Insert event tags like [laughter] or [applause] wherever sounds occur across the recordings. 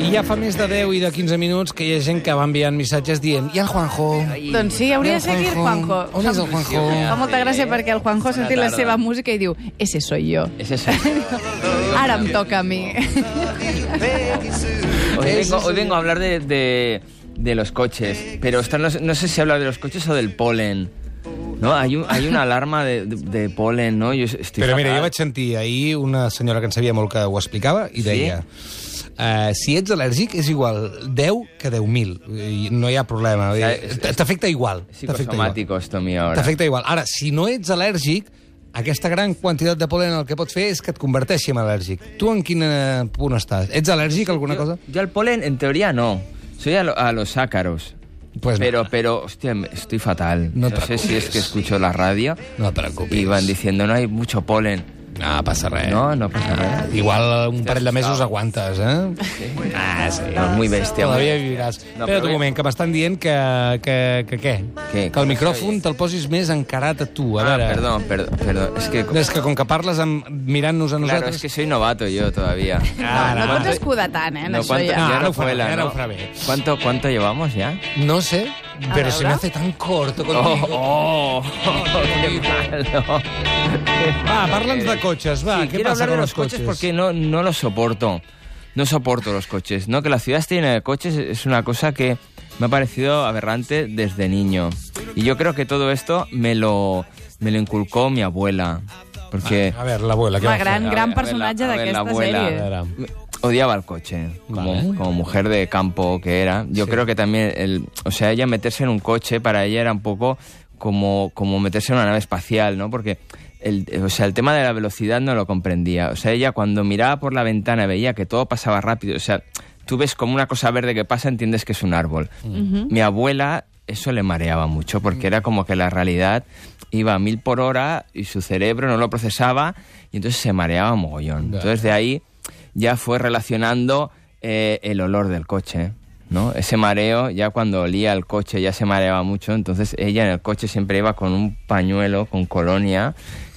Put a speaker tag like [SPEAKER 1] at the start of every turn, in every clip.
[SPEAKER 1] I ja fa més de 10 i de 15 minuts que hi ha gent que va enviant missatges dient i el Juanjo?
[SPEAKER 2] Doncs sí, hauria
[SPEAKER 1] I
[SPEAKER 2] de seguir Juanjo.
[SPEAKER 1] On és el Juanjo?
[SPEAKER 2] Fa molta gràcia perquè el Juanjo ha sentit la
[SPEAKER 3] tarda.
[SPEAKER 2] seva música i diu «Ese soy yo».
[SPEAKER 3] Ese soy yo.
[SPEAKER 2] [laughs] Ara em toca a mi.
[SPEAKER 3] Hoy vengo, hoy vengo a hablar de, de, de los coches, pero está- no, sé- no sé si hablar de los coches o del polen. No, hay, un- hay una alarma de, de- de polen, ¿no? Yo estoy
[SPEAKER 1] Però mira, jo
[SPEAKER 3] fatal.
[SPEAKER 1] vaig sentir ahir una senyora que en sabia molt que ho explicava i deia... Uh, si ets alèrgic, és igual 10 que 10.000. I No hi ha problema. Vull dir,
[SPEAKER 3] és- és-
[SPEAKER 1] T'afecta igual. T'afecta igual.
[SPEAKER 3] Psicosomático esto mío ahora.
[SPEAKER 1] T'afecta igual. Ara, si no ets alèrgic, aquesta gran quantitat de polen el que pots fer és que et converteixi en al·lèrgic. Tu en quin eh, punt estàs? Ets al·lèrgic a alguna cosa?
[SPEAKER 3] Yo al polen, en teoría, no. Soy a, lo- a los ácaros.
[SPEAKER 1] Pues no.
[SPEAKER 3] pero, pero, hostia, me- estoy fatal.
[SPEAKER 1] No
[SPEAKER 3] No,
[SPEAKER 1] te
[SPEAKER 3] sé si
[SPEAKER 1] preocupes.
[SPEAKER 3] es que escucho la radio
[SPEAKER 1] No et preocupis.
[SPEAKER 3] y van diciendo, no hay mucho polen.
[SPEAKER 1] No, passa res.
[SPEAKER 3] No, no pasa nada.
[SPEAKER 1] Igual eh, un parell de mesos aguantes, eh?
[SPEAKER 3] Ah, sí. No, muy bestia. muy
[SPEAKER 1] Todavía
[SPEAKER 3] bestia.
[SPEAKER 1] viviràs.
[SPEAKER 3] No,
[SPEAKER 1] No, Espera't un
[SPEAKER 3] però-
[SPEAKER 1] moment, que m'estan dient que, que, que què?
[SPEAKER 3] Què?
[SPEAKER 1] Que el micròfon te'l posis més encarat a tu. A
[SPEAKER 3] Ah,
[SPEAKER 1] veure.
[SPEAKER 3] perdón, perdón, perdón. Es que...
[SPEAKER 1] No, és que com que parles amb, mirant-nos a
[SPEAKER 3] Claro,
[SPEAKER 1] nosaltres...
[SPEAKER 3] es que soy novato yo todavía.
[SPEAKER 1] Ah,
[SPEAKER 2] No
[SPEAKER 1] no,
[SPEAKER 2] pots escudar tant, eh, en
[SPEAKER 3] No,
[SPEAKER 2] això
[SPEAKER 3] ¿cuánto,
[SPEAKER 1] No,
[SPEAKER 2] ja.
[SPEAKER 3] Ah, ya
[SPEAKER 1] ahora
[SPEAKER 3] no
[SPEAKER 1] fuera,
[SPEAKER 3] fue la,
[SPEAKER 1] ahora
[SPEAKER 3] ¿no?
[SPEAKER 1] fuera bien.
[SPEAKER 3] ¿Cuánto, ¿Cuánto llevamos ya?
[SPEAKER 1] No sé, però se me hace tan corto contigo.
[SPEAKER 3] ¡Oh! [laughs] ¡Qué malo!
[SPEAKER 1] Va, parla'ns de cotxes, va,
[SPEAKER 3] Sí,
[SPEAKER 1] què
[SPEAKER 3] quiero
[SPEAKER 1] passa
[SPEAKER 3] hablar de
[SPEAKER 1] con
[SPEAKER 3] los
[SPEAKER 1] los
[SPEAKER 3] coches,
[SPEAKER 1] cotxes?
[SPEAKER 3] porque no, no los soporto. No soporto los coches. No, que la ciudad esté llena de coches es una cosa que me ha parecido aberrante desde niño. Y yo creo que todo esto me lo, me lo inculcó mi abuela. Porque
[SPEAKER 1] A veure, l'abuela, què
[SPEAKER 2] Home,
[SPEAKER 1] va fer?
[SPEAKER 2] gran,
[SPEAKER 3] A
[SPEAKER 2] gran
[SPEAKER 3] ver,
[SPEAKER 2] personatge
[SPEAKER 3] a ver, la
[SPEAKER 2] d'aquesta
[SPEAKER 3] abuela.
[SPEAKER 1] A
[SPEAKER 2] sèrie.
[SPEAKER 1] veure.
[SPEAKER 3] odiaba el coche, como,
[SPEAKER 1] Vale.
[SPEAKER 3] como mujer de campo que era. Yo creo que también, el, o sea, ella meterse en un coche para ella era un poco como, como meterse en una nave espacial, ¿no? Porque el, o sea, el tema de la velocidad no lo comprendía. O sea, ella cuando miraba por la ventana veía que todo pasaba rápido. O sea, tú ves como una cosa verde que pasa, entiendes que es un árbol. Mi abuela eso le mareaba mucho porque era como que la realidad iba a mil por hora y su cerebro no lo procesaba y entonces se mareaba mogollón.
[SPEAKER 1] Ya.
[SPEAKER 3] Entonces de ahí ya fue relacionando eh, el olor del coche, ¿no? Ese mareo, ya cuando olía el coche ya se mareaba mucho, entonces ella en el coche siempre iba con un pañuelo, con colonia,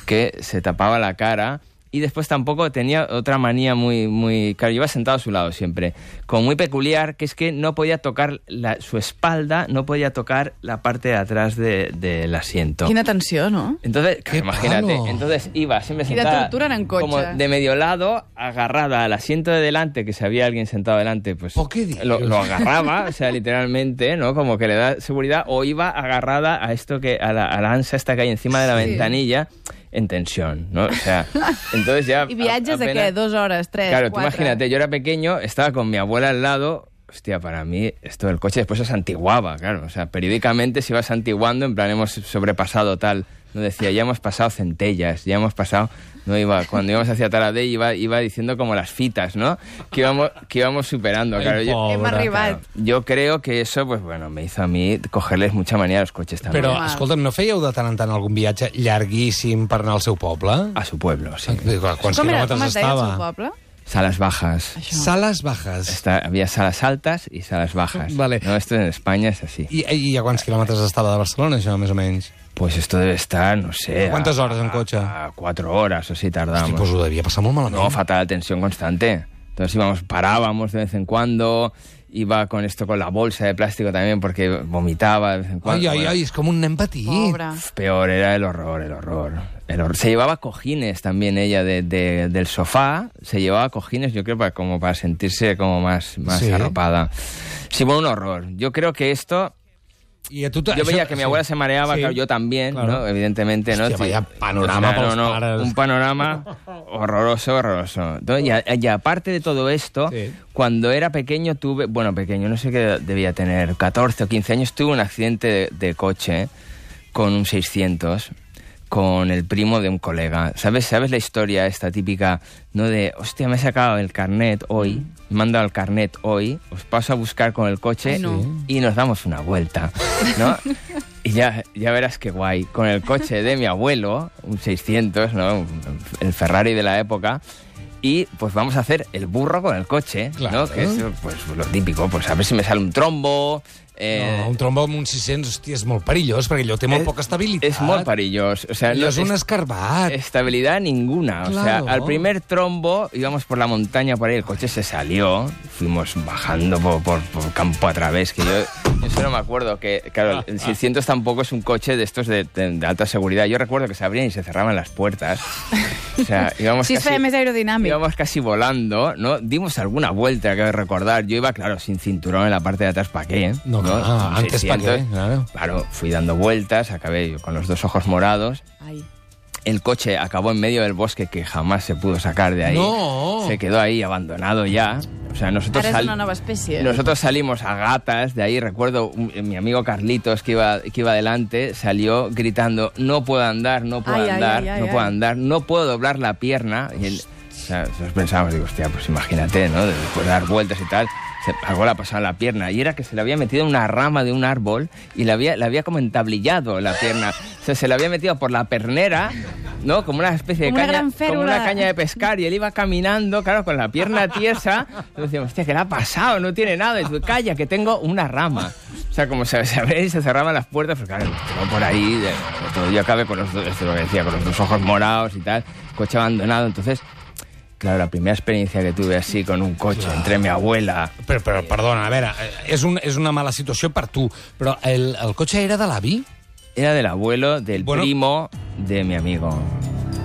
[SPEAKER 3] que se tapaba la cara y después tampoco tenía otra manía muy, muy... Claro, yo iba sentado a su lado siempre, como muy peculiar, que es que no podía tocar la- su espalda, no podía tocar la parte de atrás de- del asiento.
[SPEAKER 2] Quina tensió, no?
[SPEAKER 3] Entonces, claro,
[SPEAKER 1] ¡Qué
[SPEAKER 3] imagínate,
[SPEAKER 1] palo!
[SPEAKER 3] entonces iba siempre
[SPEAKER 2] Y la
[SPEAKER 3] sentada
[SPEAKER 2] torturan en coche.
[SPEAKER 3] como de medio lado, agarrada al asiento de delante, que si había alguien sentado delante, pues
[SPEAKER 1] ¿O qué dices?
[SPEAKER 3] lo, lo agarraba, o sea, literalmente, ¿no? Como que le da seguridad, o iba agarrada a esto que, a la, a la ansa esta que hay encima de la ventanilla, en tensión, ¿no? O sea,
[SPEAKER 2] [laughs]
[SPEAKER 3] entonces ya...
[SPEAKER 2] I viatges de què?
[SPEAKER 3] apenas-
[SPEAKER 2] Dos hores, tres,
[SPEAKER 3] Claro, tú
[SPEAKER 2] quatre?
[SPEAKER 3] imagínate, yo era pequeño, estaba con mi abuela al lado. Hostia, para mí esto del coche después se santiguaba, claro. O sea, periódicamente se iba santiguando, en plan hemos sobrepasado tal. No decía, ya hemos pasado centellas, ya hemos pasado. No iba, cuando íbamos hacia Taradell iba, iba diciendo como las fitas, ¿no? Que íbamos, que íbamos superando, claro. Yo,
[SPEAKER 2] Hem
[SPEAKER 1] Pobre,
[SPEAKER 2] arribat.
[SPEAKER 3] yo creo que eso, pues bueno, me hizo a mí cogerles mucha manía a los coches también.
[SPEAKER 1] Però,
[SPEAKER 2] Home.
[SPEAKER 1] escolta'm, no fèieu de tant en tant algun viatge llarguíssim per anar al seu poble?
[SPEAKER 3] A su pueblo, sí.
[SPEAKER 1] Quants
[SPEAKER 2] Com, era,
[SPEAKER 1] quilòmetres
[SPEAKER 2] com es deia el
[SPEAKER 1] estava?
[SPEAKER 2] seu poble?
[SPEAKER 3] Salas bajas.
[SPEAKER 1] Sales bajas.
[SPEAKER 3] Está- había salas altas y salas bajas.
[SPEAKER 1] Vale.
[SPEAKER 3] No, esto en España es así.
[SPEAKER 1] I, I a quants quilòmetres estava de Barcelona, això, més o menys?
[SPEAKER 3] Pues esto debe estar, no sé.
[SPEAKER 1] ¿Cuántas horas en
[SPEAKER 3] a-
[SPEAKER 1] coche?
[SPEAKER 3] A cuatro horas o así tardamos.
[SPEAKER 1] Hosti, pues ho devia passar molt malament.
[SPEAKER 3] Ah, No, fatal, tensión constante. Entonces íbamos, parábamos de vez en cuando, iba con esto, con la bolsa de plástico también, porque vomitaba de vez en cuando.
[SPEAKER 1] Ai, ai,
[SPEAKER 3] Bueno,
[SPEAKER 1] ai, és com un nen petit.
[SPEAKER 2] Pobre.
[SPEAKER 3] Peor era el horror, el horror. El horror. Se llevaba cojines también ella de- de- del sofá, se llevaba cojines, yo creo, para, como para sentirse como más, más
[SPEAKER 1] Sí.
[SPEAKER 3] arropada. Sí, bueno, un horror. Yo creo que esto...
[SPEAKER 1] I a tu,
[SPEAKER 3] Yo veía que mi abuela se mareaba,
[SPEAKER 1] Sí.
[SPEAKER 3] claro, yo también,
[SPEAKER 1] Claro.
[SPEAKER 3] ¿no? Evidentemente, ¿no?
[SPEAKER 1] Hostia,
[SPEAKER 3] Sí.
[SPEAKER 1] vaya panorama para los paras.
[SPEAKER 3] Un panorama horroroso, horroroso. Entonces, y, a- y aparte de todo esto,
[SPEAKER 1] Sí.
[SPEAKER 3] cuando era pequeño tuve, bueno, pequeño, no sé qué debía tener, 14 o 15 años, tuve un accidente de, de coche con un 600 con el primo de un colega. ¿Sabes? ¿Sabes la historia esta típica, no de, hostia, me he sacado el carnet
[SPEAKER 1] Mm.
[SPEAKER 3] hoy, me han dado el carnet hoy, os paso a buscar con el coche
[SPEAKER 2] Ay, no. Sí.
[SPEAKER 3] y nos damos una vuelta, ¿no? Y ya, ya verás qué guay. Con el coche de mi abuelo, un 600, ¿no? Un- El Ferrari de la época. y pues vamos a hacer el burro con el coche,
[SPEAKER 1] Claro.
[SPEAKER 3] ¿no? Que es pues, lo típico, pues a ver si me sale un trombo. eh,
[SPEAKER 1] No, un trombó amb un 600, hòstia, és molt perillós, perquè allò té molt
[SPEAKER 3] es-
[SPEAKER 1] poca estabilitat.
[SPEAKER 3] Es muy parillos. O sea,
[SPEAKER 1] Allò
[SPEAKER 3] no- Eh.
[SPEAKER 1] és un
[SPEAKER 3] es-
[SPEAKER 1] escarbat.
[SPEAKER 3] Estabilidad ninguna. O sea,
[SPEAKER 1] Claro.
[SPEAKER 3] al primer trombo íbamos por la montaña por ahí, el coche se salió, fuimos bajando por, por- por campo a través, que yo, yo solo me acuerdo que,
[SPEAKER 1] Ah,
[SPEAKER 3] claro, el 600 tampoco es un coche de estos de, de- de alta seguridad. Yo recuerdo que se abrían y se cerraban las puertas. O
[SPEAKER 1] [laughs]
[SPEAKER 3] sea, íbamos
[SPEAKER 2] Sí, es
[SPEAKER 3] casi...
[SPEAKER 2] més aerodinàmic.
[SPEAKER 3] Íbamos casi volando, ¿no? Dimos alguna vuelta, que recordar. Yo iba, claro, sin cinturón en la parte de atrás, ¿para qué?
[SPEAKER 1] No, claro,
[SPEAKER 3] Un
[SPEAKER 1] antes pa' qué,
[SPEAKER 3] 600.
[SPEAKER 1] claro.
[SPEAKER 3] Claro, fui dando vueltas, acabé yo con los dos ojos morados.
[SPEAKER 2] Ai.
[SPEAKER 3] El coche acabó en medio del bosque que jamás se pudo sacar de ahí.
[SPEAKER 1] No.
[SPEAKER 3] Se quedó ahí abandonado ya. O sea, nosotros,
[SPEAKER 2] Ara és
[SPEAKER 3] sal-
[SPEAKER 2] una nova espècie. [laughs]
[SPEAKER 3] nosotros salimos a gatas de ahí. Recuerdo un- eh, mi amigo Carlitos que iba, que iba delante, salió gritando, no puedo andar, no puedo
[SPEAKER 2] Ay, ay,
[SPEAKER 3] andar,
[SPEAKER 2] ay, ay,
[SPEAKER 3] no
[SPEAKER 2] ay.
[SPEAKER 3] puedo andar, no puedo doblar la pierna. Y él- o sea, nosotros pensábamos, digo, hostia, pues imagínate, ¿no? Después de dar vueltas y tal. se- Algo le ha pasado en la pierna y era que se le había metido en una rama de un árbol y le había, le había como entablillado la pierna. O sea, se le había metido por la pernera, ¿no? Como una especie
[SPEAKER 2] Como
[SPEAKER 3] de
[SPEAKER 2] una
[SPEAKER 3] caña,
[SPEAKER 2] gran
[SPEAKER 3] como una
[SPEAKER 2] férula.
[SPEAKER 3] caña de pescar y él iba caminando, claro, con la pierna tiesa. Y decíamos, hostia, ¿qué le ha pasado? No tiene nada. Y tú, calla, que tengo una rama. O sea, como se, se abrían y se cerraban las puertas, pues claro, quedó por ahí. de- de todo. Yo acabé con los, dos- esto es lo que decía, con los dos ojos morados y tal, coche abandonado. Entonces, claro, la primera experiencia que tuve así con un coche entre mi abuela.
[SPEAKER 1] Però, però, perdona, a veure, eh, és, un, és una mala situació per tu, però el, el cotxe era de l'avi?
[SPEAKER 3] Era del abuelo, del
[SPEAKER 1] Bueno.
[SPEAKER 3] primo de mi amigo.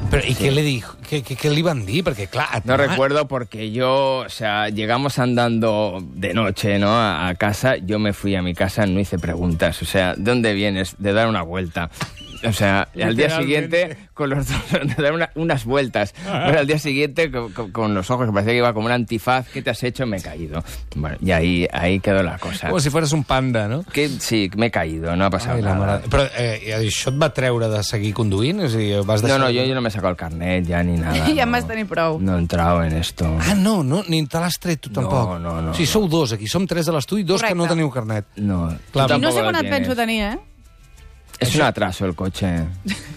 [SPEAKER 1] Però, I sí. què, li dijo, què, què, què li van dir? Perquè, clar... et-
[SPEAKER 3] No recuerdo porque yo, o sea, llegamos andando de noche, ¿no? A, a casa, yo me fui a mi casa, no hice preguntas, o sea, ¿de dónde vienes? De dar una vuelta. O sea, al día siguiente, con los dos, [laughs] de dar una- unas vueltas. Pero al día siguiente, co- co- con, los ojos, que parecía que iba como un antifaz, ¿qué te has hecho? Me he caído. Bueno, y ahí, ahí quedó la cosa.
[SPEAKER 1] Com si fores un panda, no?
[SPEAKER 3] Que, sí, me he caído, no ha pasado
[SPEAKER 1] Ai, Pues- la
[SPEAKER 3] nada.
[SPEAKER 1] mare... Però eh, això et va treure de seguir conduint? És a dir, vas
[SPEAKER 3] No,
[SPEAKER 1] deixar...
[SPEAKER 3] no, yo, yo no me he sacado el carnet ya ni nada.
[SPEAKER 2] Ja
[SPEAKER 3] no.
[SPEAKER 2] en vas tenir prou.
[SPEAKER 3] No he entrado en esto.
[SPEAKER 1] Ah, no, no, ni te l'has tret tu
[SPEAKER 3] No,
[SPEAKER 1] tampoc.
[SPEAKER 3] no, no,
[SPEAKER 1] O sigui,
[SPEAKER 3] no.
[SPEAKER 1] sou dos aquí, som tres a l'estudi, dos
[SPEAKER 2] Correcte.
[SPEAKER 1] que no teniu carnet.
[SPEAKER 3] No,
[SPEAKER 1] Clar,
[SPEAKER 3] tú
[SPEAKER 2] I no
[SPEAKER 3] tampoco
[SPEAKER 2] sé
[SPEAKER 3] lo
[SPEAKER 2] quan et
[SPEAKER 3] tienes.
[SPEAKER 2] penso tenir, eh?
[SPEAKER 3] Es un atraso el coche.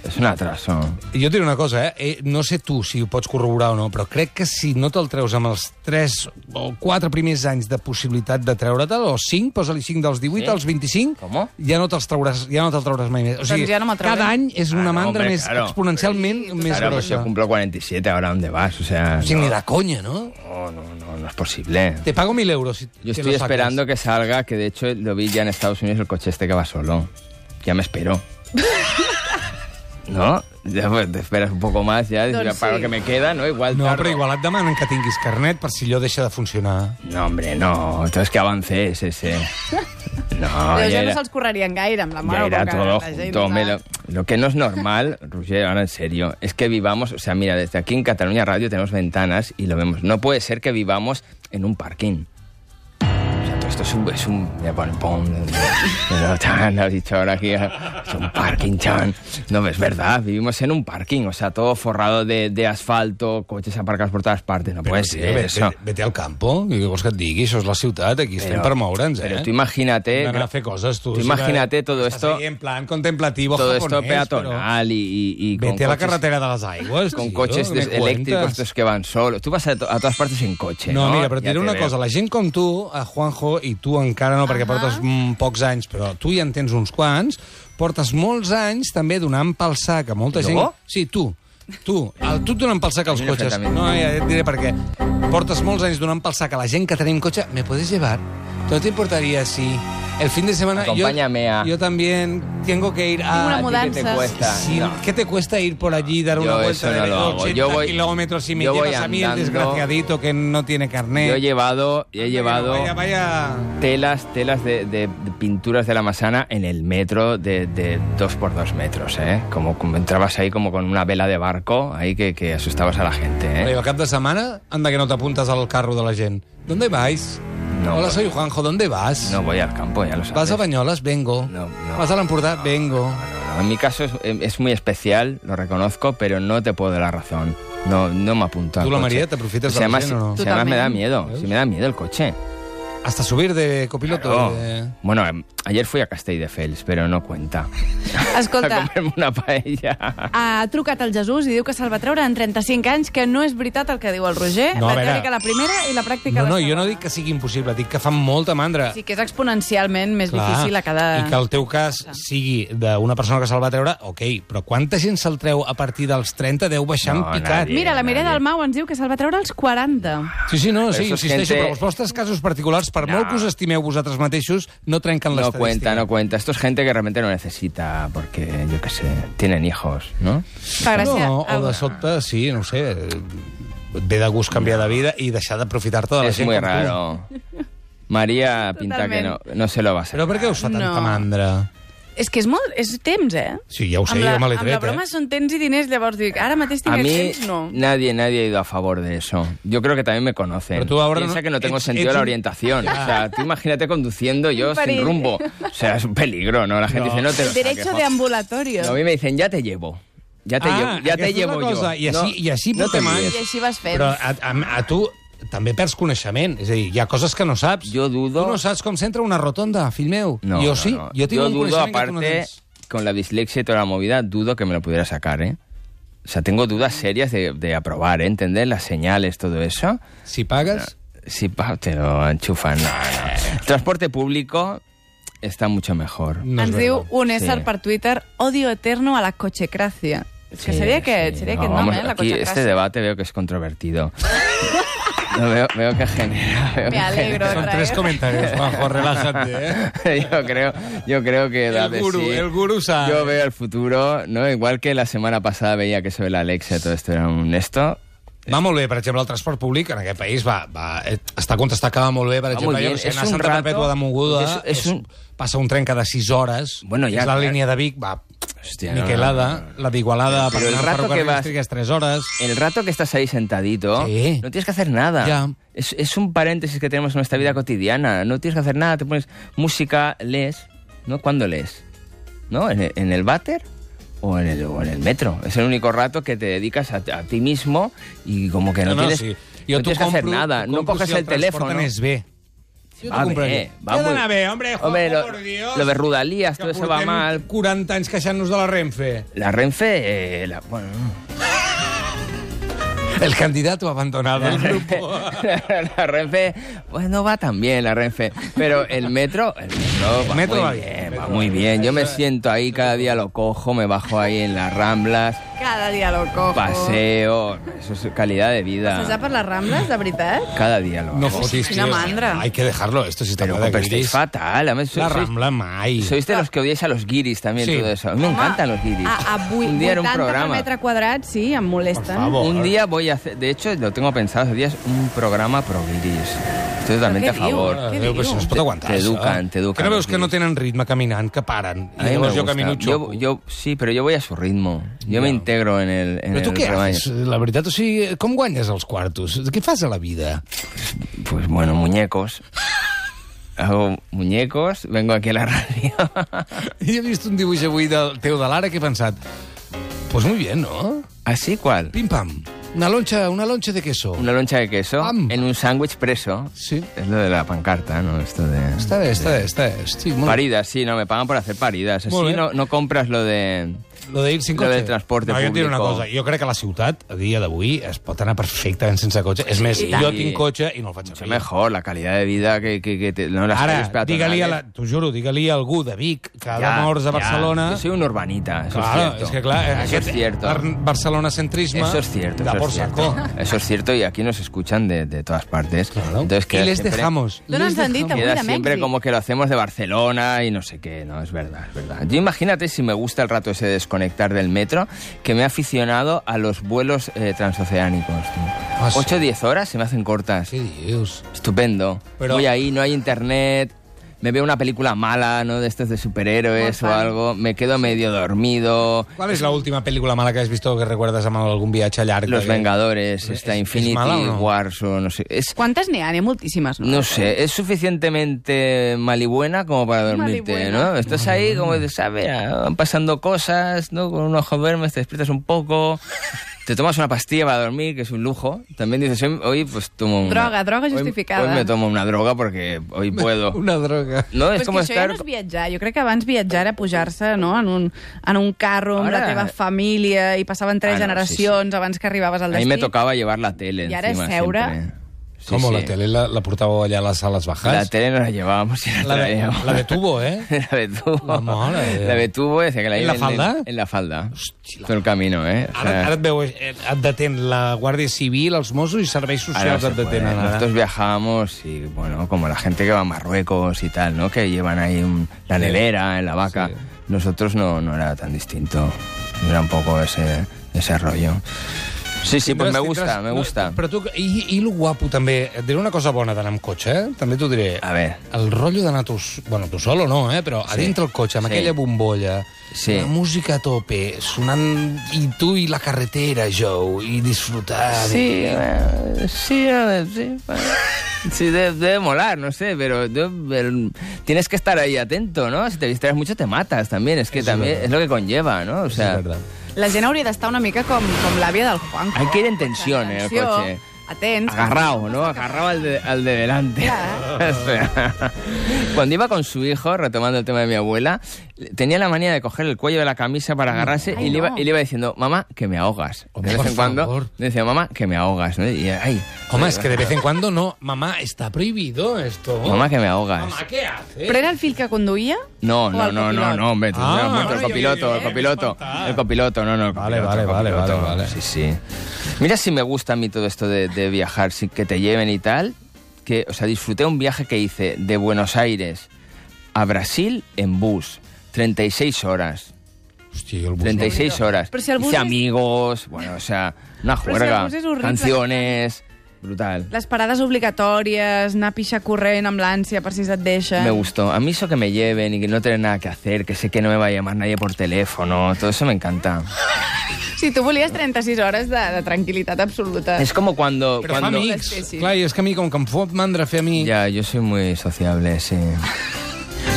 [SPEAKER 3] Es un atraso.
[SPEAKER 1] Jo et diré una cosa, eh? eh? No sé tu si ho pots corroborar o no, però crec que si no te'l treus amb els 3 o 4 primers anys de possibilitat de treure-te'l, o 5, posa-li 5 dels 18
[SPEAKER 3] Sí?
[SPEAKER 1] als 25,
[SPEAKER 3] Com?
[SPEAKER 1] ja no te'ls trauràs, ja no te'l trauràs mai més. O sigui,
[SPEAKER 2] Doncs ja no me'l trauré.
[SPEAKER 1] cada any és
[SPEAKER 3] Ah,
[SPEAKER 1] una
[SPEAKER 3] no,
[SPEAKER 1] mandra
[SPEAKER 3] hombre,
[SPEAKER 1] més
[SPEAKER 3] claro.
[SPEAKER 1] exponencialment més
[SPEAKER 3] Claro, pues
[SPEAKER 1] grossa.
[SPEAKER 3] yo cumplo 47, ahora ¿dónde vas? O sea,
[SPEAKER 1] O sigui,
[SPEAKER 3] no,
[SPEAKER 1] ni de conya, no?
[SPEAKER 3] no, no, no, no es posible.
[SPEAKER 1] Te pago 1.000 euros si
[SPEAKER 3] Yo
[SPEAKER 1] te
[SPEAKER 3] estoy
[SPEAKER 1] lo sacas.
[SPEAKER 3] esperando que salga, que de hecho lo vi ya en Estados Unidos el coche este que va solo. Ya
[SPEAKER 1] [laughs]
[SPEAKER 3] me espero. ¿No? Ya pues, te esperas un poco más, ya,
[SPEAKER 2] Doncs
[SPEAKER 3] ya para lo
[SPEAKER 2] sí.
[SPEAKER 3] que me queda, ¿no? Igual
[SPEAKER 1] No,
[SPEAKER 3] tardo.
[SPEAKER 1] però igual et demanen que tinguis carnet per si allò deixa de funcionar.
[SPEAKER 3] No, hombre, no. Entonces que avance es
[SPEAKER 1] [laughs]
[SPEAKER 3] ese. No,
[SPEAKER 2] Però
[SPEAKER 3] ya
[SPEAKER 2] ja no
[SPEAKER 3] era-
[SPEAKER 2] se'ls correrían gaire amb la
[SPEAKER 3] Ya
[SPEAKER 2] mano.
[SPEAKER 3] era
[SPEAKER 2] com que
[SPEAKER 3] todo
[SPEAKER 2] la gent
[SPEAKER 3] junto.
[SPEAKER 2] va-
[SPEAKER 3] me lo, lo que no es normal, [laughs] Roger, ahora en serio, es que vivamos, o sea, mira, desde aquí en Cataluña Radio tenemos ventanas y lo vemos. No puede ser que vivamos en un parking. O sea, todo esto es un... Es un mira, pon, pon, pero, chan, lo has dicho ahora aquí, eh, es un parking, chan. No, es verdad, vivimos en un parking, o sea, todo forrado de, de asfalto, coches aparcados por todas partes, no puede
[SPEAKER 1] sí,
[SPEAKER 3] ser
[SPEAKER 1] vete,
[SPEAKER 3] eso.
[SPEAKER 1] vete al campo, i què vols que et digui? Això és la ciutat, aquí estem
[SPEAKER 3] Però-
[SPEAKER 1] per moure'ns, eh?
[SPEAKER 3] Pero tú imagínate...
[SPEAKER 1] Van a hacer cosas tú.
[SPEAKER 3] Tú imagínate todo
[SPEAKER 1] Estás
[SPEAKER 3] esto-
[SPEAKER 1] ahí en plan contemplativo
[SPEAKER 3] Todo
[SPEAKER 1] japonés,
[SPEAKER 3] esto peatonal y, y- y
[SPEAKER 1] Pero...
[SPEAKER 3] con
[SPEAKER 1] Vete a la
[SPEAKER 3] coches-
[SPEAKER 1] carretera de las aguas,
[SPEAKER 3] con
[SPEAKER 1] tío,
[SPEAKER 3] coches
[SPEAKER 1] ¿qué
[SPEAKER 3] de-
[SPEAKER 1] me
[SPEAKER 3] eléctricos
[SPEAKER 1] cuentas?
[SPEAKER 3] estos que van solos. Tú vas a, to- a todas partes en coche. No,
[SPEAKER 1] No, mira, però et
[SPEAKER 3] Ya
[SPEAKER 1] diré
[SPEAKER 3] te
[SPEAKER 1] una
[SPEAKER 3] veo.
[SPEAKER 1] cosa. La gent com tu, a Juanjo, i tu encara no, perquè portes mm, pocs anys, però tu ja en tens uns quants, portes molts anys també donant pel sac a molta
[SPEAKER 3] Jo?
[SPEAKER 1] gent... Sí, tu. Tu, el, tu et donen pel sac als
[SPEAKER 3] Jo no he fet
[SPEAKER 1] cotxes.
[SPEAKER 3] a mi.
[SPEAKER 1] No, ja et diré per què. Portes molts anys donant pel sac a la gent que tenim cotxe. ¿Me puedes llevar? ¿No te importaría si... El fin de semana... yo-
[SPEAKER 3] Acompáñame a-
[SPEAKER 1] Yo también tengo que ir
[SPEAKER 2] Tengo
[SPEAKER 1] a...
[SPEAKER 2] una
[SPEAKER 3] ¿A ti qué te
[SPEAKER 2] mudanzas.
[SPEAKER 3] cuesta?
[SPEAKER 1] Sí,
[SPEAKER 3] No.
[SPEAKER 1] ¿Qué te cuesta ir por allí, dar una
[SPEAKER 3] Yo
[SPEAKER 1] vuelta
[SPEAKER 3] eso
[SPEAKER 1] de
[SPEAKER 3] no lo hago.
[SPEAKER 1] 80
[SPEAKER 3] Yo voy-
[SPEAKER 1] kilómetros y me
[SPEAKER 3] yo voy
[SPEAKER 1] llevas a mí el
[SPEAKER 3] andando.
[SPEAKER 1] desgraciadito que no tiene carnet?
[SPEAKER 3] Yo he llevado, he llevado
[SPEAKER 1] Vaya, vaya.
[SPEAKER 3] telas, telas de, de- de pinturas de la masana en el metro de, de dos por dos metros, ¿eh? Como, como entrabas ahí como con una vela de barco, ahí que, que asustabas a la gente,
[SPEAKER 1] Oye,
[SPEAKER 3] ¿eh?
[SPEAKER 1] el cap de setmana, anda que no t'apuntes al carro de la gent. ¿Dónde vais?
[SPEAKER 3] No,
[SPEAKER 1] Hola,
[SPEAKER 3] no.
[SPEAKER 1] soy Juanjo, ¿dónde vas?
[SPEAKER 3] No voy al campo, ya lo sabes.
[SPEAKER 1] ¿Vas a Bañolas? Vengo.
[SPEAKER 3] No, no.
[SPEAKER 1] ¿Vas a Lampurdá? Vengo.
[SPEAKER 3] No, no, En mi caso es, em, es muy especial, lo reconozco, pero no te puedo dar la razón. No, no me apunta.
[SPEAKER 1] ¿Tú, la María, te aprovechas de la
[SPEAKER 3] además,
[SPEAKER 1] gente o no?
[SPEAKER 3] si
[SPEAKER 2] Tú
[SPEAKER 3] además me da
[SPEAKER 2] también.
[SPEAKER 3] miedo, si me da miedo el coche.
[SPEAKER 1] Hasta subir de copiloto. eh.
[SPEAKER 3] Claro.
[SPEAKER 1] de-
[SPEAKER 3] Bueno, em, ayer fui a Castelldefels, pero no cuenta.
[SPEAKER 2] Escolta,
[SPEAKER 3] [laughs] A comerme una paella.
[SPEAKER 2] ha trucat el Jesús i diu que se'l va treure en 35 anys, que no és veritat el que diu el Roger.
[SPEAKER 1] No, a
[SPEAKER 2] la
[SPEAKER 1] veure.
[SPEAKER 2] teòrica la primera i la pràctica
[SPEAKER 1] No, no,
[SPEAKER 2] la
[SPEAKER 1] jo
[SPEAKER 2] segona.
[SPEAKER 1] no dic que sigui impossible, dic que fa molta mandra.
[SPEAKER 2] Sí, que és exponencialment més difícil a cada...
[SPEAKER 1] I que el teu cas sigui d'una persona que se'l va treure, ok, però quanta gent se'l treu a partir dels 30? Deu baixar en
[SPEAKER 3] No,
[SPEAKER 1] picat.
[SPEAKER 3] nadie.
[SPEAKER 2] Mira, la Mireia
[SPEAKER 3] Nadie.
[SPEAKER 2] del Mau ens diu que se'l va treure als 40.
[SPEAKER 1] Sí, sí, no,
[SPEAKER 3] Pero
[SPEAKER 1] sí,
[SPEAKER 3] eso es
[SPEAKER 1] insisteixo,
[SPEAKER 3] gente-
[SPEAKER 1] però els vostres casos particulars, per
[SPEAKER 3] No.
[SPEAKER 1] molt que us estimeu vosaltres mateixos, no trenquen
[SPEAKER 3] No
[SPEAKER 1] l'estadística.
[SPEAKER 3] cuenta, no cuenta. Esto es gente que realmente no necesita porque, yo qué sé, tienen hijos, ¿no?
[SPEAKER 2] Fa gràcia.
[SPEAKER 1] No, o de
[SPEAKER 2] Au.
[SPEAKER 1] sobte, sí, no ho sé, eh, et ve de gust canviar de vida i deixar d'aprofitar-te de la
[SPEAKER 3] es
[SPEAKER 1] gent
[SPEAKER 3] muy
[SPEAKER 1] com tu.
[SPEAKER 3] raro. María pinta que no,
[SPEAKER 2] Totalmente.
[SPEAKER 3] no se lo va a hacer.
[SPEAKER 1] Però per què us fa tanta
[SPEAKER 2] No.
[SPEAKER 1] mandra?
[SPEAKER 2] És que és molt... És temps, eh?
[SPEAKER 1] Sí, ja ho sé, jo
[SPEAKER 2] Amb
[SPEAKER 1] me l'he
[SPEAKER 2] amb
[SPEAKER 1] tret,
[SPEAKER 2] la broma
[SPEAKER 1] eh?
[SPEAKER 2] són temps i diners, llavors dic, ara mateix tinc
[SPEAKER 3] A mí
[SPEAKER 2] accents, no.
[SPEAKER 3] nadie, nadie ha ido a favor de eso. Yo creo que también me conocen.
[SPEAKER 1] Pero tú ahora
[SPEAKER 3] Piensa
[SPEAKER 1] no-
[SPEAKER 3] que no tengo
[SPEAKER 1] eres-
[SPEAKER 3] sentido de
[SPEAKER 1] eres
[SPEAKER 3] la
[SPEAKER 1] un-
[SPEAKER 3] orientación.
[SPEAKER 1] Ya.
[SPEAKER 3] O sea, tú imagínate conduciendo yo
[SPEAKER 2] Un parín.
[SPEAKER 3] sin rumbo. O sea, es un peligro, ¿no? La gente
[SPEAKER 1] No.
[SPEAKER 3] dice, no te lo
[SPEAKER 2] El derecho
[SPEAKER 3] saques,
[SPEAKER 2] de
[SPEAKER 3] jo.
[SPEAKER 2] ambulatorio.
[SPEAKER 3] No, a mí me dicen, ya te llevo. Ya te
[SPEAKER 1] Ah,
[SPEAKER 3] llevo, ya
[SPEAKER 1] aquesta
[SPEAKER 3] te
[SPEAKER 1] és la
[SPEAKER 3] llevo
[SPEAKER 1] cosa.
[SPEAKER 3] yo.
[SPEAKER 1] I així- i així
[SPEAKER 3] no te
[SPEAKER 1] portem
[SPEAKER 3] líes.
[SPEAKER 1] anys.
[SPEAKER 2] I així vas fent.
[SPEAKER 1] Però a, a, a tu també perds coneixement. És a dir, hi ha coses que no saps.
[SPEAKER 3] Jo dudo-
[SPEAKER 1] Tu no saps com s'entra a una rotonda, fill meu.
[SPEAKER 3] No,
[SPEAKER 1] jo
[SPEAKER 3] no,
[SPEAKER 1] sí.
[SPEAKER 3] no.
[SPEAKER 1] Jo tinc
[SPEAKER 3] Yo
[SPEAKER 1] un
[SPEAKER 3] dudo,
[SPEAKER 1] coneixement que tu no
[SPEAKER 3] aparte,
[SPEAKER 1] tens.
[SPEAKER 3] con la dislexia y toda la movida, dudo que me lo pudiera sacar, ¿eh? O sea, tengo dudas serias de, de aprobar, ¿eh? ¿Entender? Las señales, todo eso.
[SPEAKER 1] Si pagues...
[SPEAKER 3] Sí, pa, te lo enchufan. No, no. Transporte público está mucho mejor.
[SPEAKER 1] No
[SPEAKER 2] ens
[SPEAKER 1] és
[SPEAKER 2] diu
[SPEAKER 1] verdad.
[SPEAKER 2] un ésser
[SPEAKER 3] Sí.
[SPEAKER 2] per Twitter odio eterno a la cochecracia. És que
[SPEAKER 3] Sí,
[SPEAKER 2] seria que,
[SPEAKER 3] sí.
[SPEAKER 2] seria
[SPEAKER 3] No,
[SPEAKER 2] que no,
[SPEAKER 3] vamos,
[SPEAKER 2] eh, la
[SPEAKER 3] aquí
[SPEAKER 2] cochecracia.
[SPEAKER 3] este debate veo que es controvertido. No, veo, veo que genera. veo
[SPEAKER 2] Me
[SPEAKER 3] que
[SPEAKER 2] alegro
[SPEAKER 1] Son
[SPEAKER 2] otra
[SPEAKER 1] tres
[SPEAKER 2] vez.
[SPEAKER 1] comentarios, [laughs] Juanjo, relájate, eh?
[SPEAKER 3] genera- [laughs] Yo creo, yo creo que
[SPEAKER 1] El
[SPEAKER 3] da de
[SPEAKER 1] gurú,
[SPEAKER 3] sí.
[SPEAKER 1] el gurú sabe.
[SPEAKER 3] Yo veo el futuro, ¿no? Igual que la semana pasada veía que sobre la Alexa todo esto era un esto.
[SPEAKER 1] Va molt bé, per exemple, el transport públic en aquest país va, va, eh, està contestat que va molt bé, per
[SPEAKER 3] Va
[SPEAKER 1] exemple,
[SPEAKER 3] molt
[SPEAKER 1] jo
[SPEAKER 3] bien,
[SPEAKER 1] que sé,
[SPEAKER 3] és
[SPEAKER 1] anar a
[SPEAKER 3] un
[SPEAKER 1] Santa
[SPEAKER 3] rato,
[SPEAKER 1] Perpètua de Moguda,
[SPEAKER 3] és- és un-
[SPEAKER 1] passa un tren cada 6 hores,
[SPEAKER 3] Bueno,
[SPEAKER 1] és
[SPEAKER 3] ja,
[SPEAKER 1] la
[SPEAKER 3] clar.
[SPEAKER 1] línia de Vic, va,
[SPEAKER 3] Hòstia, no,
[SPEAKER 1] Miquelada, la d'Igualada, per
[SPEAKER 3] Però el
[SPEAKER 1] anar
[SPEAKER 3] rato
[SPEAKER 1] a
[SPEAKER 3] que
[SPEAKER 1] Ferrocarril
[SPEAKER 3] vas-
[SPEAKER 1] Estrigues 3 hores...
[SPEAKER 3] El rato que estás ahí sentadito,
[SPEAKER 1] Sí.
[SPEAKER 3] no tienes que hacer nada.
[SPEAKER 1] Ya.
[SPEAKER 3] Es, es un paréntesis que tenemos en nuestra vida cotidiana. No tienes que hacer nada, te pones música, lees, ¿no? ¿Cuándo lees? ¿No? ¿En el, en el váter? O en, el, o en el metro. Es el único rato que te dedicas a, a ti mismo y como que no, tienes,
[SPEAKER 1] Jo
[SPEAKER 3] no
[SPEAKER 1] t'ho
[SPEAKER 3] tienes que hacer
[SPEAKER 1] compro-
[SPEAKER 3] nada.
[SPEAKER 1] t'ho
[SPEAKER 3] No
[SPEAKER 1] compro
[SPEAKER 3] coges
[SPEAKER 1] si
[SPEAKER 3] el teléfono.
[SPEAKER 1] transport anés bé. Jo
[SPEAKER 3] Va
[SPEAKER 1] t'ho
[SPEAKER 3] bé,
[SPEAKER 1] compraria.
[SPEAKER 3] va
[SPEAKER 1] Ha
[SPEAKER 3] molt-
[SPEAKER 1] d'anar bé, hombre, Juanjo,
[SPEAKER 3] Hombre, lo-
[SPEAKER 1] por Dios.
[SPEAKER 3] lo de Rodalías,
[SPEAKER 1] que
[SPEAKER 3] todo eso va
[SPEAKER 1] portem
[SPEAKER 3] mal.
[SPEAKER 1] 40 anys queixant-nos de la Renfe.
[SPEAKER 3] La Renfe, eh, la- bueno,
[SPEAKER 1] El candidat ho ha abandonat eh? el grupo.
[SPEAKER 3] la Renfe, pues no va tan bien la Renfe, pero el metro, el metro va
[SPEAKER 1] Metro
[SPEAKER 3] muy
[SPEAKER 1] va
[SPEAKER 3] bien,
[SPEAKER 1] bien,
[SPEAKER 3] va
[SPEAKER 1] metro
[SPEAKER 3] muy
[SPEAKER 1] va
[SPEAKER 3] bien.
[SPEAKER 1] bien.
[SPEAKER 3] Yo me
[SPEAKER 1] Eso es-
[SPEAKER 3] siento ahí, cada día lo cojo, me bajo ahí en las ramblas,
[SPEAKER 2] Cada dia lo cojo.
[SPEAKER 3] paseo, eso es calidad de
[SPEAKER 2] Passar
[SPEAKER 3] vida.
[SPEAKER 2] per les Rambles, de veritat?
[SPEAKER 3] Cada día lo hago.
[SPEAKER 1] No fotis,
[SPEAKER 2] quina
[SPEAKER 1] tío.
[SPEAKER 2] mandra.
[SPEAKER 1] Hay que dejarlo, esto sí está
[SPEAKER 3] pero,
[SPEAKER 1] fuera de
[SPEAKER 3] pero estáis
[SPEAKER 1] gris.
[SPEAKER 3] fatal. a mí
[SPEAKER 1] La
[SPEAKER 3] sois-
[SPEAKER 1] Rambla, mai.
[SPEAKER 3] Sois de los que odiáis a los guiris también,
[SPEAKER 1] Sí.
[SPEAKER 3] todo eso. A mí me
[SPEAKER 2] Home,
[SPEAKER 3] encantan los guiris.
[SPEAKER 2] A, a vuit-
[SPEAKER 3] un día era un
[SPEAKER 2] 80 per
[SPEAKER 3] programa.
[SPEAKER 2] metre quadrat, sí, em molesten.
[SPEAKER 1] Por favor.
[SPEAKER 3] Un día voy a hacer, de hecho lo tengo pensado, ese día es un programa pro guiris. Estoy totalmente a
[SPEAKER 2] qué digo?
[SPEAKER 3] favor.
[SPEAKER 1] Ah,
[SPEAKER 2] Què
[SPEAKER 1] Déu,
[SPEAKER 2] diu?
[SPEAKER 1] però si no es pot
[SPEAKER 3] Te-
[SPEAKER 1] aguantar,
[SPEAKER 3] t'eduquen,
[SPEAKER 1] això.
[SPEAKER 3] t'eduquen
[SPEAKER 1] Que no veus
[SPEAKER 3] els
[SPEAKER 1] que no
[SPEAKER 3] guiris.
[SPEAKER 1] tenen ritme caminant, que paren?
[SPEAKER 3] A mí
[SPEAKER 1] I
[SPEAKER 3] me
[SPEAKER 1] llavors jo
[SPEAKER 3] gusta.
[SPEAKER 1] camino i
[SPEAKER 3] Yo,
[SPEAKER 1] xoco.
[SPEAKER 3] yo- sí, pero yo voy a su ritmo. Yo me integro en el, en
[SPEAKER 1] Però tu
[SPEAKER 3] el
[SPEAKER 1] què
[SPEAKER 3] rebaño.
[SPEAKER 1] haces? La veritat, o sigui, com guanyes els quartos? Què fas a la vida? [laughs]
[SPEAKER 3] Pues bueno, muñecos. Hago muñecos, vengo aquí a la [laughs] radio.
[SPEAKER 1] Jo he vist un dibuix avui del teu de l'ara que he pensat... Pues muy bien, ¿no?
[SPEAKER 3] ¿Así cuál?
[SPEAKER 1] Pim pam. Una loncha, una loncha de queso.
[SPEAKER 3] Una loncha de queso
[SPEAKER 1] Pam.
[SPEAKER 3] en un sándwich preso.
[SPEAKER 1] Sí.
[SPEAKER 3] Es lo de la pancarta, ¿no? Esto de...
[SPEAKER 1] Està bé, està bé, està bé. Estic molt...
[SPEAKER 3] Paridas, sí, no, me pagan por hacer paridas.
[SPEAKER 1] Molt
[SPEAKER 3] Así
[SPEAKER 1] bé.
[SPEAKER 3] no, no compras lo de...
[SPEAKER 1] Lo de ir sin
[SPEAKER 3] Lo
[SPEAKER 1] cotxe.
[SPEAKER 3] del transporte
[SPEAKER 1] no, jo et diré una
[SPEAKER 3] público.
[SPEAKER 1] cosa. Jo crec que a la ciutat, a dia d'avui, es pot anar perfectament sense cotxe. És més,
[SPEAKER 3] Sí.
[SPEAKER 1] jo tinc cotxe i no el faig
[SPEAKER 3] Mucho
[SPEAKER 1] servir.
[SPEAKER 3] mejor, la calidad de vida que... que, que te- no, las calles
[SPEAKER 1] Ara,
[SPEAKER 3] peatonales.
[SPEAKER 1] digue-li, a la- t'ho juro, digue-li a algú de Vic que ha de
[SPEAKER 3] Ya,
[SPEAKER 1] moure's a
[SPEAKER 3] ya.
[SPEAKER 1] Barcelona...
[SPEAKER 3] Yo soy un urbanita, eso es
[SPEAKER 1] Claro,
[SPEAKER 3] cierto.
[SPEAKER 1] és que clar,
[SPEAKER 3] Eso
[SPEAKER 1] aquest
[SPEAKER 3] es cierto.
[SPEAKER 1] bar- barcelonacentrisme
[SPEAKER 3] Eso es cierto.
[SPEAKER 1] de
[SPEAKER 3] eso,
[SPEAKER 1] por
[SPEAKER 3] es cierto.
[SPEAKER 1] saco.
[SPEAKER 3] Eso es cierto y aquí nos escuchan de, de todas partes.
[SPEAKER 1] Claro.
[SPEAKER 3] Entonces
[SPEAKER 1] Y
[SPEAKER 3] queda
[SPEAKER 1] les
[SPEAKER 3] siempre-
[SPEAKER 1] dejamos.
[SPEAKER 2] D'on ens han dit avui
[SPEAKER 3] Queda
[SPEAKER 2] de
[SPEAKER 3] siempre
[SPEAKER 2] Mèxic?
[SPEAKER 3] como que lo hacemos de Barcelona y no sé qué, no, es verdad, es verdad. Yo imagínate si me gusta el rato ese de desconectar del metro, que me he aficionado a los vuelos eh, transoceánicos. tío.
[SPEAKER 1] Ah, sí.
[SPEAKER 3] Ocho o 10 horas se me hacen cortas.
[SPEAKER 1] Què dius?
[SPEAKER 3] Estupendo.
[SPEAKER 1] Pero-
[SPEAKER 3] Voy ahí, no hay internet. Me veo una película mala, ¿no? De estos de superhéroes
[SPEAKER 2] Muy
[SPEAKER 3] o
[SPEAKER 2] fan.
[SPEAKER 3] algo. Me quedo medio dormido.
[SPEAKER 1] ¿Cuál es la última película mala que has visto que recuerdas amb algún viatge llarg?
[SPEAKER 3] Los
[SPEAKER 1] Que-
[SPEAKER 3] Vengadores, esta
[SPEAKER 1] es
[SPEAKER 3] Infinity
[SPEAKER 1] mala o no?
[SPEAKER 3] Wars o no sé. Es,
[SPEAKER 2] Quantes n'hi ha? N'hi ha moltíssimes, no?
[SPEAKER 3] no sé, es suficientemente malibuena como para dormirte,
[SPEAKER 2] Malibuena.
[SPEAKER 3] ¿no? Estás ahí como dices, ah, mira, van pasando cosas, ¿no? Con un ojo duermes, te despiertas un poco. te tomas una pastilla para dormir, que es un lujo. También dices, hoy, hoy, pues tomo una...
[SPEAKER 2] Droga, droga
[SPEAKER 3] hoy-
[SPEAKER 2] justificada.
[SPEAKER 3] Hoy, me tomo una droga perquè hoy puedo.
[SPEAKER 1] Una droga.
[SPEAKER 3] No,
[SPEAKER 2] Però
[SPEAKER 3] és
[SPEAKER 2] és
[SPEAKER 3] com
[SPEAKER 2] Pues que això ja
[SPEAKER 3] estar...
[SPEAKER 2] no és viatjar. Jo crec que abans viatjar era pujar-se no? en, un, en un carro amb
[SPEAKER 3] Ara-
[SPEAKER 2] la teva família i passaven tres
[SPEAKER 3] Ah, no,
[SPEAKER 2] generacions abans que arribaves al
[SPEAKER 3] A mí
[SPEAKER 2] destí.
[SPEAKER 3] me tocaba llevar la tele
[SPEAKER 2] Y ahora
[SPEAKER 3] encima
[SPEAKER 2] es Seura.
[SPEAKER 3] siempre. Sí,
[SPEAKER 1] ¿Cómo
[SPEAKER 3] sí.
[SPEAKER 1] la tele la, la portàveu allà a les sales bajas?
[SPEAKER 3] La tele nos la llevábamos y la,
[SPEAKER 1] La de,
[SPEAKER 3] traíamos.
[SPEAKER 1] la de tubo, eh?
[SPEAKER 3] [laughs] La de tubo.
[SPEAKER 1] La mola, eh.
[SPEAKER 3] La de tubo, decía que la
[SPEAKER 1] ¿En la
[SPEAKER 3] lleven
[SPEAKER 1] falda?
[SPEAKER 3] En, en la falda. Todo el camino, ¿eh? O
[SPEAKER 1] Ara,
[SPEAKER 3] sea,
[SPEAKER 1] ara et, veu, eh, et detén la Guàrdia Civil, els Mossos i serveis
[SPEAKER 3] ahora no
[SPEAKER 1] socials
[SPEAKER 3] se
[SPEAKER 1] et
[SPEAKER 3] puede.
[SPEAKER 1] detenen. Ara.
[SPEAKER 3] Nosotros viajamos y, bueno, como la gente que va a Marruecos y tal, ¿no? Que llevan ahí un- la
[SPEAKER 1] Sí.
[SPEAKER 3] nevera en la vaca.
[SPEAKER 1] Sí.
[SPEAKER 3] Nosotros no, no era tan distinto. Era un poco ese, ese rollo. Sí, sí, pues me
[SPEAKER 1] Tindràs-
[SPEAKER 3] gusta,
[SPEAKER 1] tindràs-
[SPEAKER 3] me
[SPEAKER 1] no,
[SPEAKER 3] gusta.
[SPEAKER 1] Però tu, i, i lo guapo també, et diré una cosa bona d'anar amb cotxe, eh? també t'ho diré.
[SPEAKER 3] A ver.
[SPEAKER 1] El rotllo d'anar tu, s- bueno, tu sol o no, eh? però a
[SPEAKER 3] Sí.
[SPEAKER 1] dintre el cotxe, amb
[SPEAKER 3] Sí.
[SPEAKER 1] aquella bombolla,
[SPEAKER 3] Sí.
[SPEAKER 1] la música a tope, sonant i tu i la carretera, Joe, i disfrutar.
[SPEAKER 3] Sí, eh, sí, eh, sí. bueno. [laughs] Sí, de- debe molar, no sé, pero yo- el- tienes que estar ahí atento, ¿no? Si te distraes mucho te matas también, es que
[SPEAKER 1] Eso es
[SPEAKER 3] también
[SPEAKER 1] verdad.
[SPEAKER 3] es lo que conlleva, ¿no? O
[SPEAKER 1] Sí, és
[SPEAKER 3] sea,
[SPEAKER 1] veritat.
[SPEAKER 2] La gent hauria d'estar una mica com, com l'àvia del Juanjo.
[SPEAKER 3] Hay que ir en tensión, eh, el
[SPEAKER 2] Atenció,
[SPEAKER 3] cotxe.
[SPEAKER 2] Atents.
[SPEAKER 3] agarrado, ¿no? Agarrado al de, al de delante. [laughs] O sea, cuando iba con su hijo, retomando el tema de mi abuela, tenía la manía de coger el cuello de la camisa para agarrarse
[SPEAKER 2] Ay,
[SPEAKER 3] y, le iba,
[SPEAKER 2] no.
[SPEAKER 3] y le iba diciendo, mamá, que me ahogas. De
[SPEAKER 1] Por
[SPEAKER 3] vez en cuando
[SPEAKER 1] favor.
[SPEAKER 3] le decía, mamá, que me ahogas. ¿no? Y, ay,
[SPEAKER 1] Home, és que de vez en cuando no. Mamá, está prohibido esto.
[SPEAKER 3] mamá, que me ahogas.
[SPEAKER 1] Mamá, ¿qué haces?
[SPEAKER 2] Però era el fill que conduïa?
[SPEAKER 3] No,
[SPEAKER 2] O
[SPEAKER 3] no,
[SPEAKER 2] el
[SPEAKER 3] no, no,
[SPEAKER 2] copilot?
[SPEAKER 3] no, hombre, tú
[SPEAKER 1] Ah,
[SPEAKER 3] te has muerto, el
[SPEAKER 1] vale,
[SPEAKER 3] copiloto,
[SPEAKER 1] oye,
[SPEAKER 3] el
[SPEAKER 1] oye,
[SPEAKER 3] copiloto,
[SPEAKER 1] espantada.
[SPEAKER 3] el copiloto, no, no, el
[SPEAKER 1] Vale,
[SPEAKER 3] copiloto,
[SPEAKER 1] vale,
[SPEAKER 3] el
[SPEAKER 1] vale,
[SPEAKER 3] copiloto,
[SPEAKER 1] vale, vale.
[SPEAKER 3] Sí, sí. Mira si me gusta a mí todo esto de, de viajar, sí, que te lleven y tal, que, o sea, disfruté un viaje que hice de Buenos Aires a Brasil en bus, 36 horas,
[SPEAKER 1] Hòstia, jo el bus no-
[SPEAKER 3] 36 horas.
[SPEAKER 2] Pero si el bus
[SPEAKER 3] hice
[SPEAKER 2] es-
[SPEAKER 3] amigos, bueno, o sea,
[SPEAKER 2] Pero
[SPEAKER 3] una
[SPEAKER 2] si el
[SPEAKER 3] juerga,
[SPEAKER 2] bus es horrible.
[SPEAKER 3] canciones, brutal.
[SPEAKER 2] Les parades obligatòries, anar a pixar corrent amb l'ànsia per si et deixen.
[SPEAKER 3] Me gustó. A mí eso que me lleven y que no tener nada que hacer, que sé que no me va a llamar nadie por teléfono, todo eso me encanta.
[SPEAKER 2] Si tu volies 36 hores de, de tranquil·litat absoluta.
[SPEAKER 3] Es como cuando...
[SPEAKER 1] Però
[SPEAKER 3] cuando...
[SPEAKER 1] fa amics.
[SPEAKER 2] Sí.
[SPEAKER 1] Clar, i és que a mi, com que em fot mandra fer amics...
[SPEAKER 3] Ya, yo soy muy sociable, sí.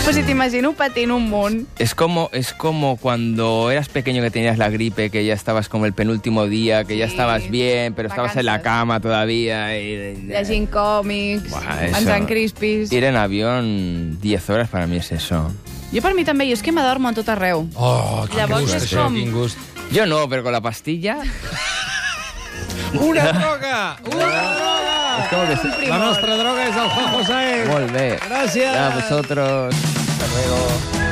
[SPEAKER 2] Però si t'imagino patint un munt.
[SPEAKER 3] Es como, es como cuando eras pequeño que tenías la gripe, que ya estabas como el penúltimo día, que ya
[SPEAKER 2] Sí.
[SPEAKER 3] estabas bien, pero estabas en la
[SPEAKER 2] Vacances.
[SPEAKER 3] cama todavía. Y...
[SPEAKER 2] llegint còmics,
[SPEAKER 3] Buah,
[SPEAKER 2] Buah,
[SPEAKER 3] eso.
[SPEAKER 2] menjant crispis...
[SPEAKER 3] Ir en avión 10 horas para mí es eso.
[SPEAKER 2] Jo per mi també, jo és que m'adormo a tot arreu.
[SPEAKER 1] Oh, quin
[SPEAKER 2] Llavors
[SPEAKER 1] gust,
[SPEAKER 2] és
[SPEAKER 1] això,
[SPEAKER 2] com-
[SPEAKER 1] quin gust.
[SPEAKER 3] Yo no, pero con la pastilla
[SPEAKER 1] [laughs] Una droga! Una droga!
[SPEAKER 3] es como que
[SPEAKER 1] [laughs]
[SPEAKER 3] se...
[SPEAKER 1] La nostra droga és el Juanjo Saez.
[SPEAKER 3] Molt bé.
[SPEAKER 1] Gràcies.
[SPEAKER 3] A vosotros. Hasta luego.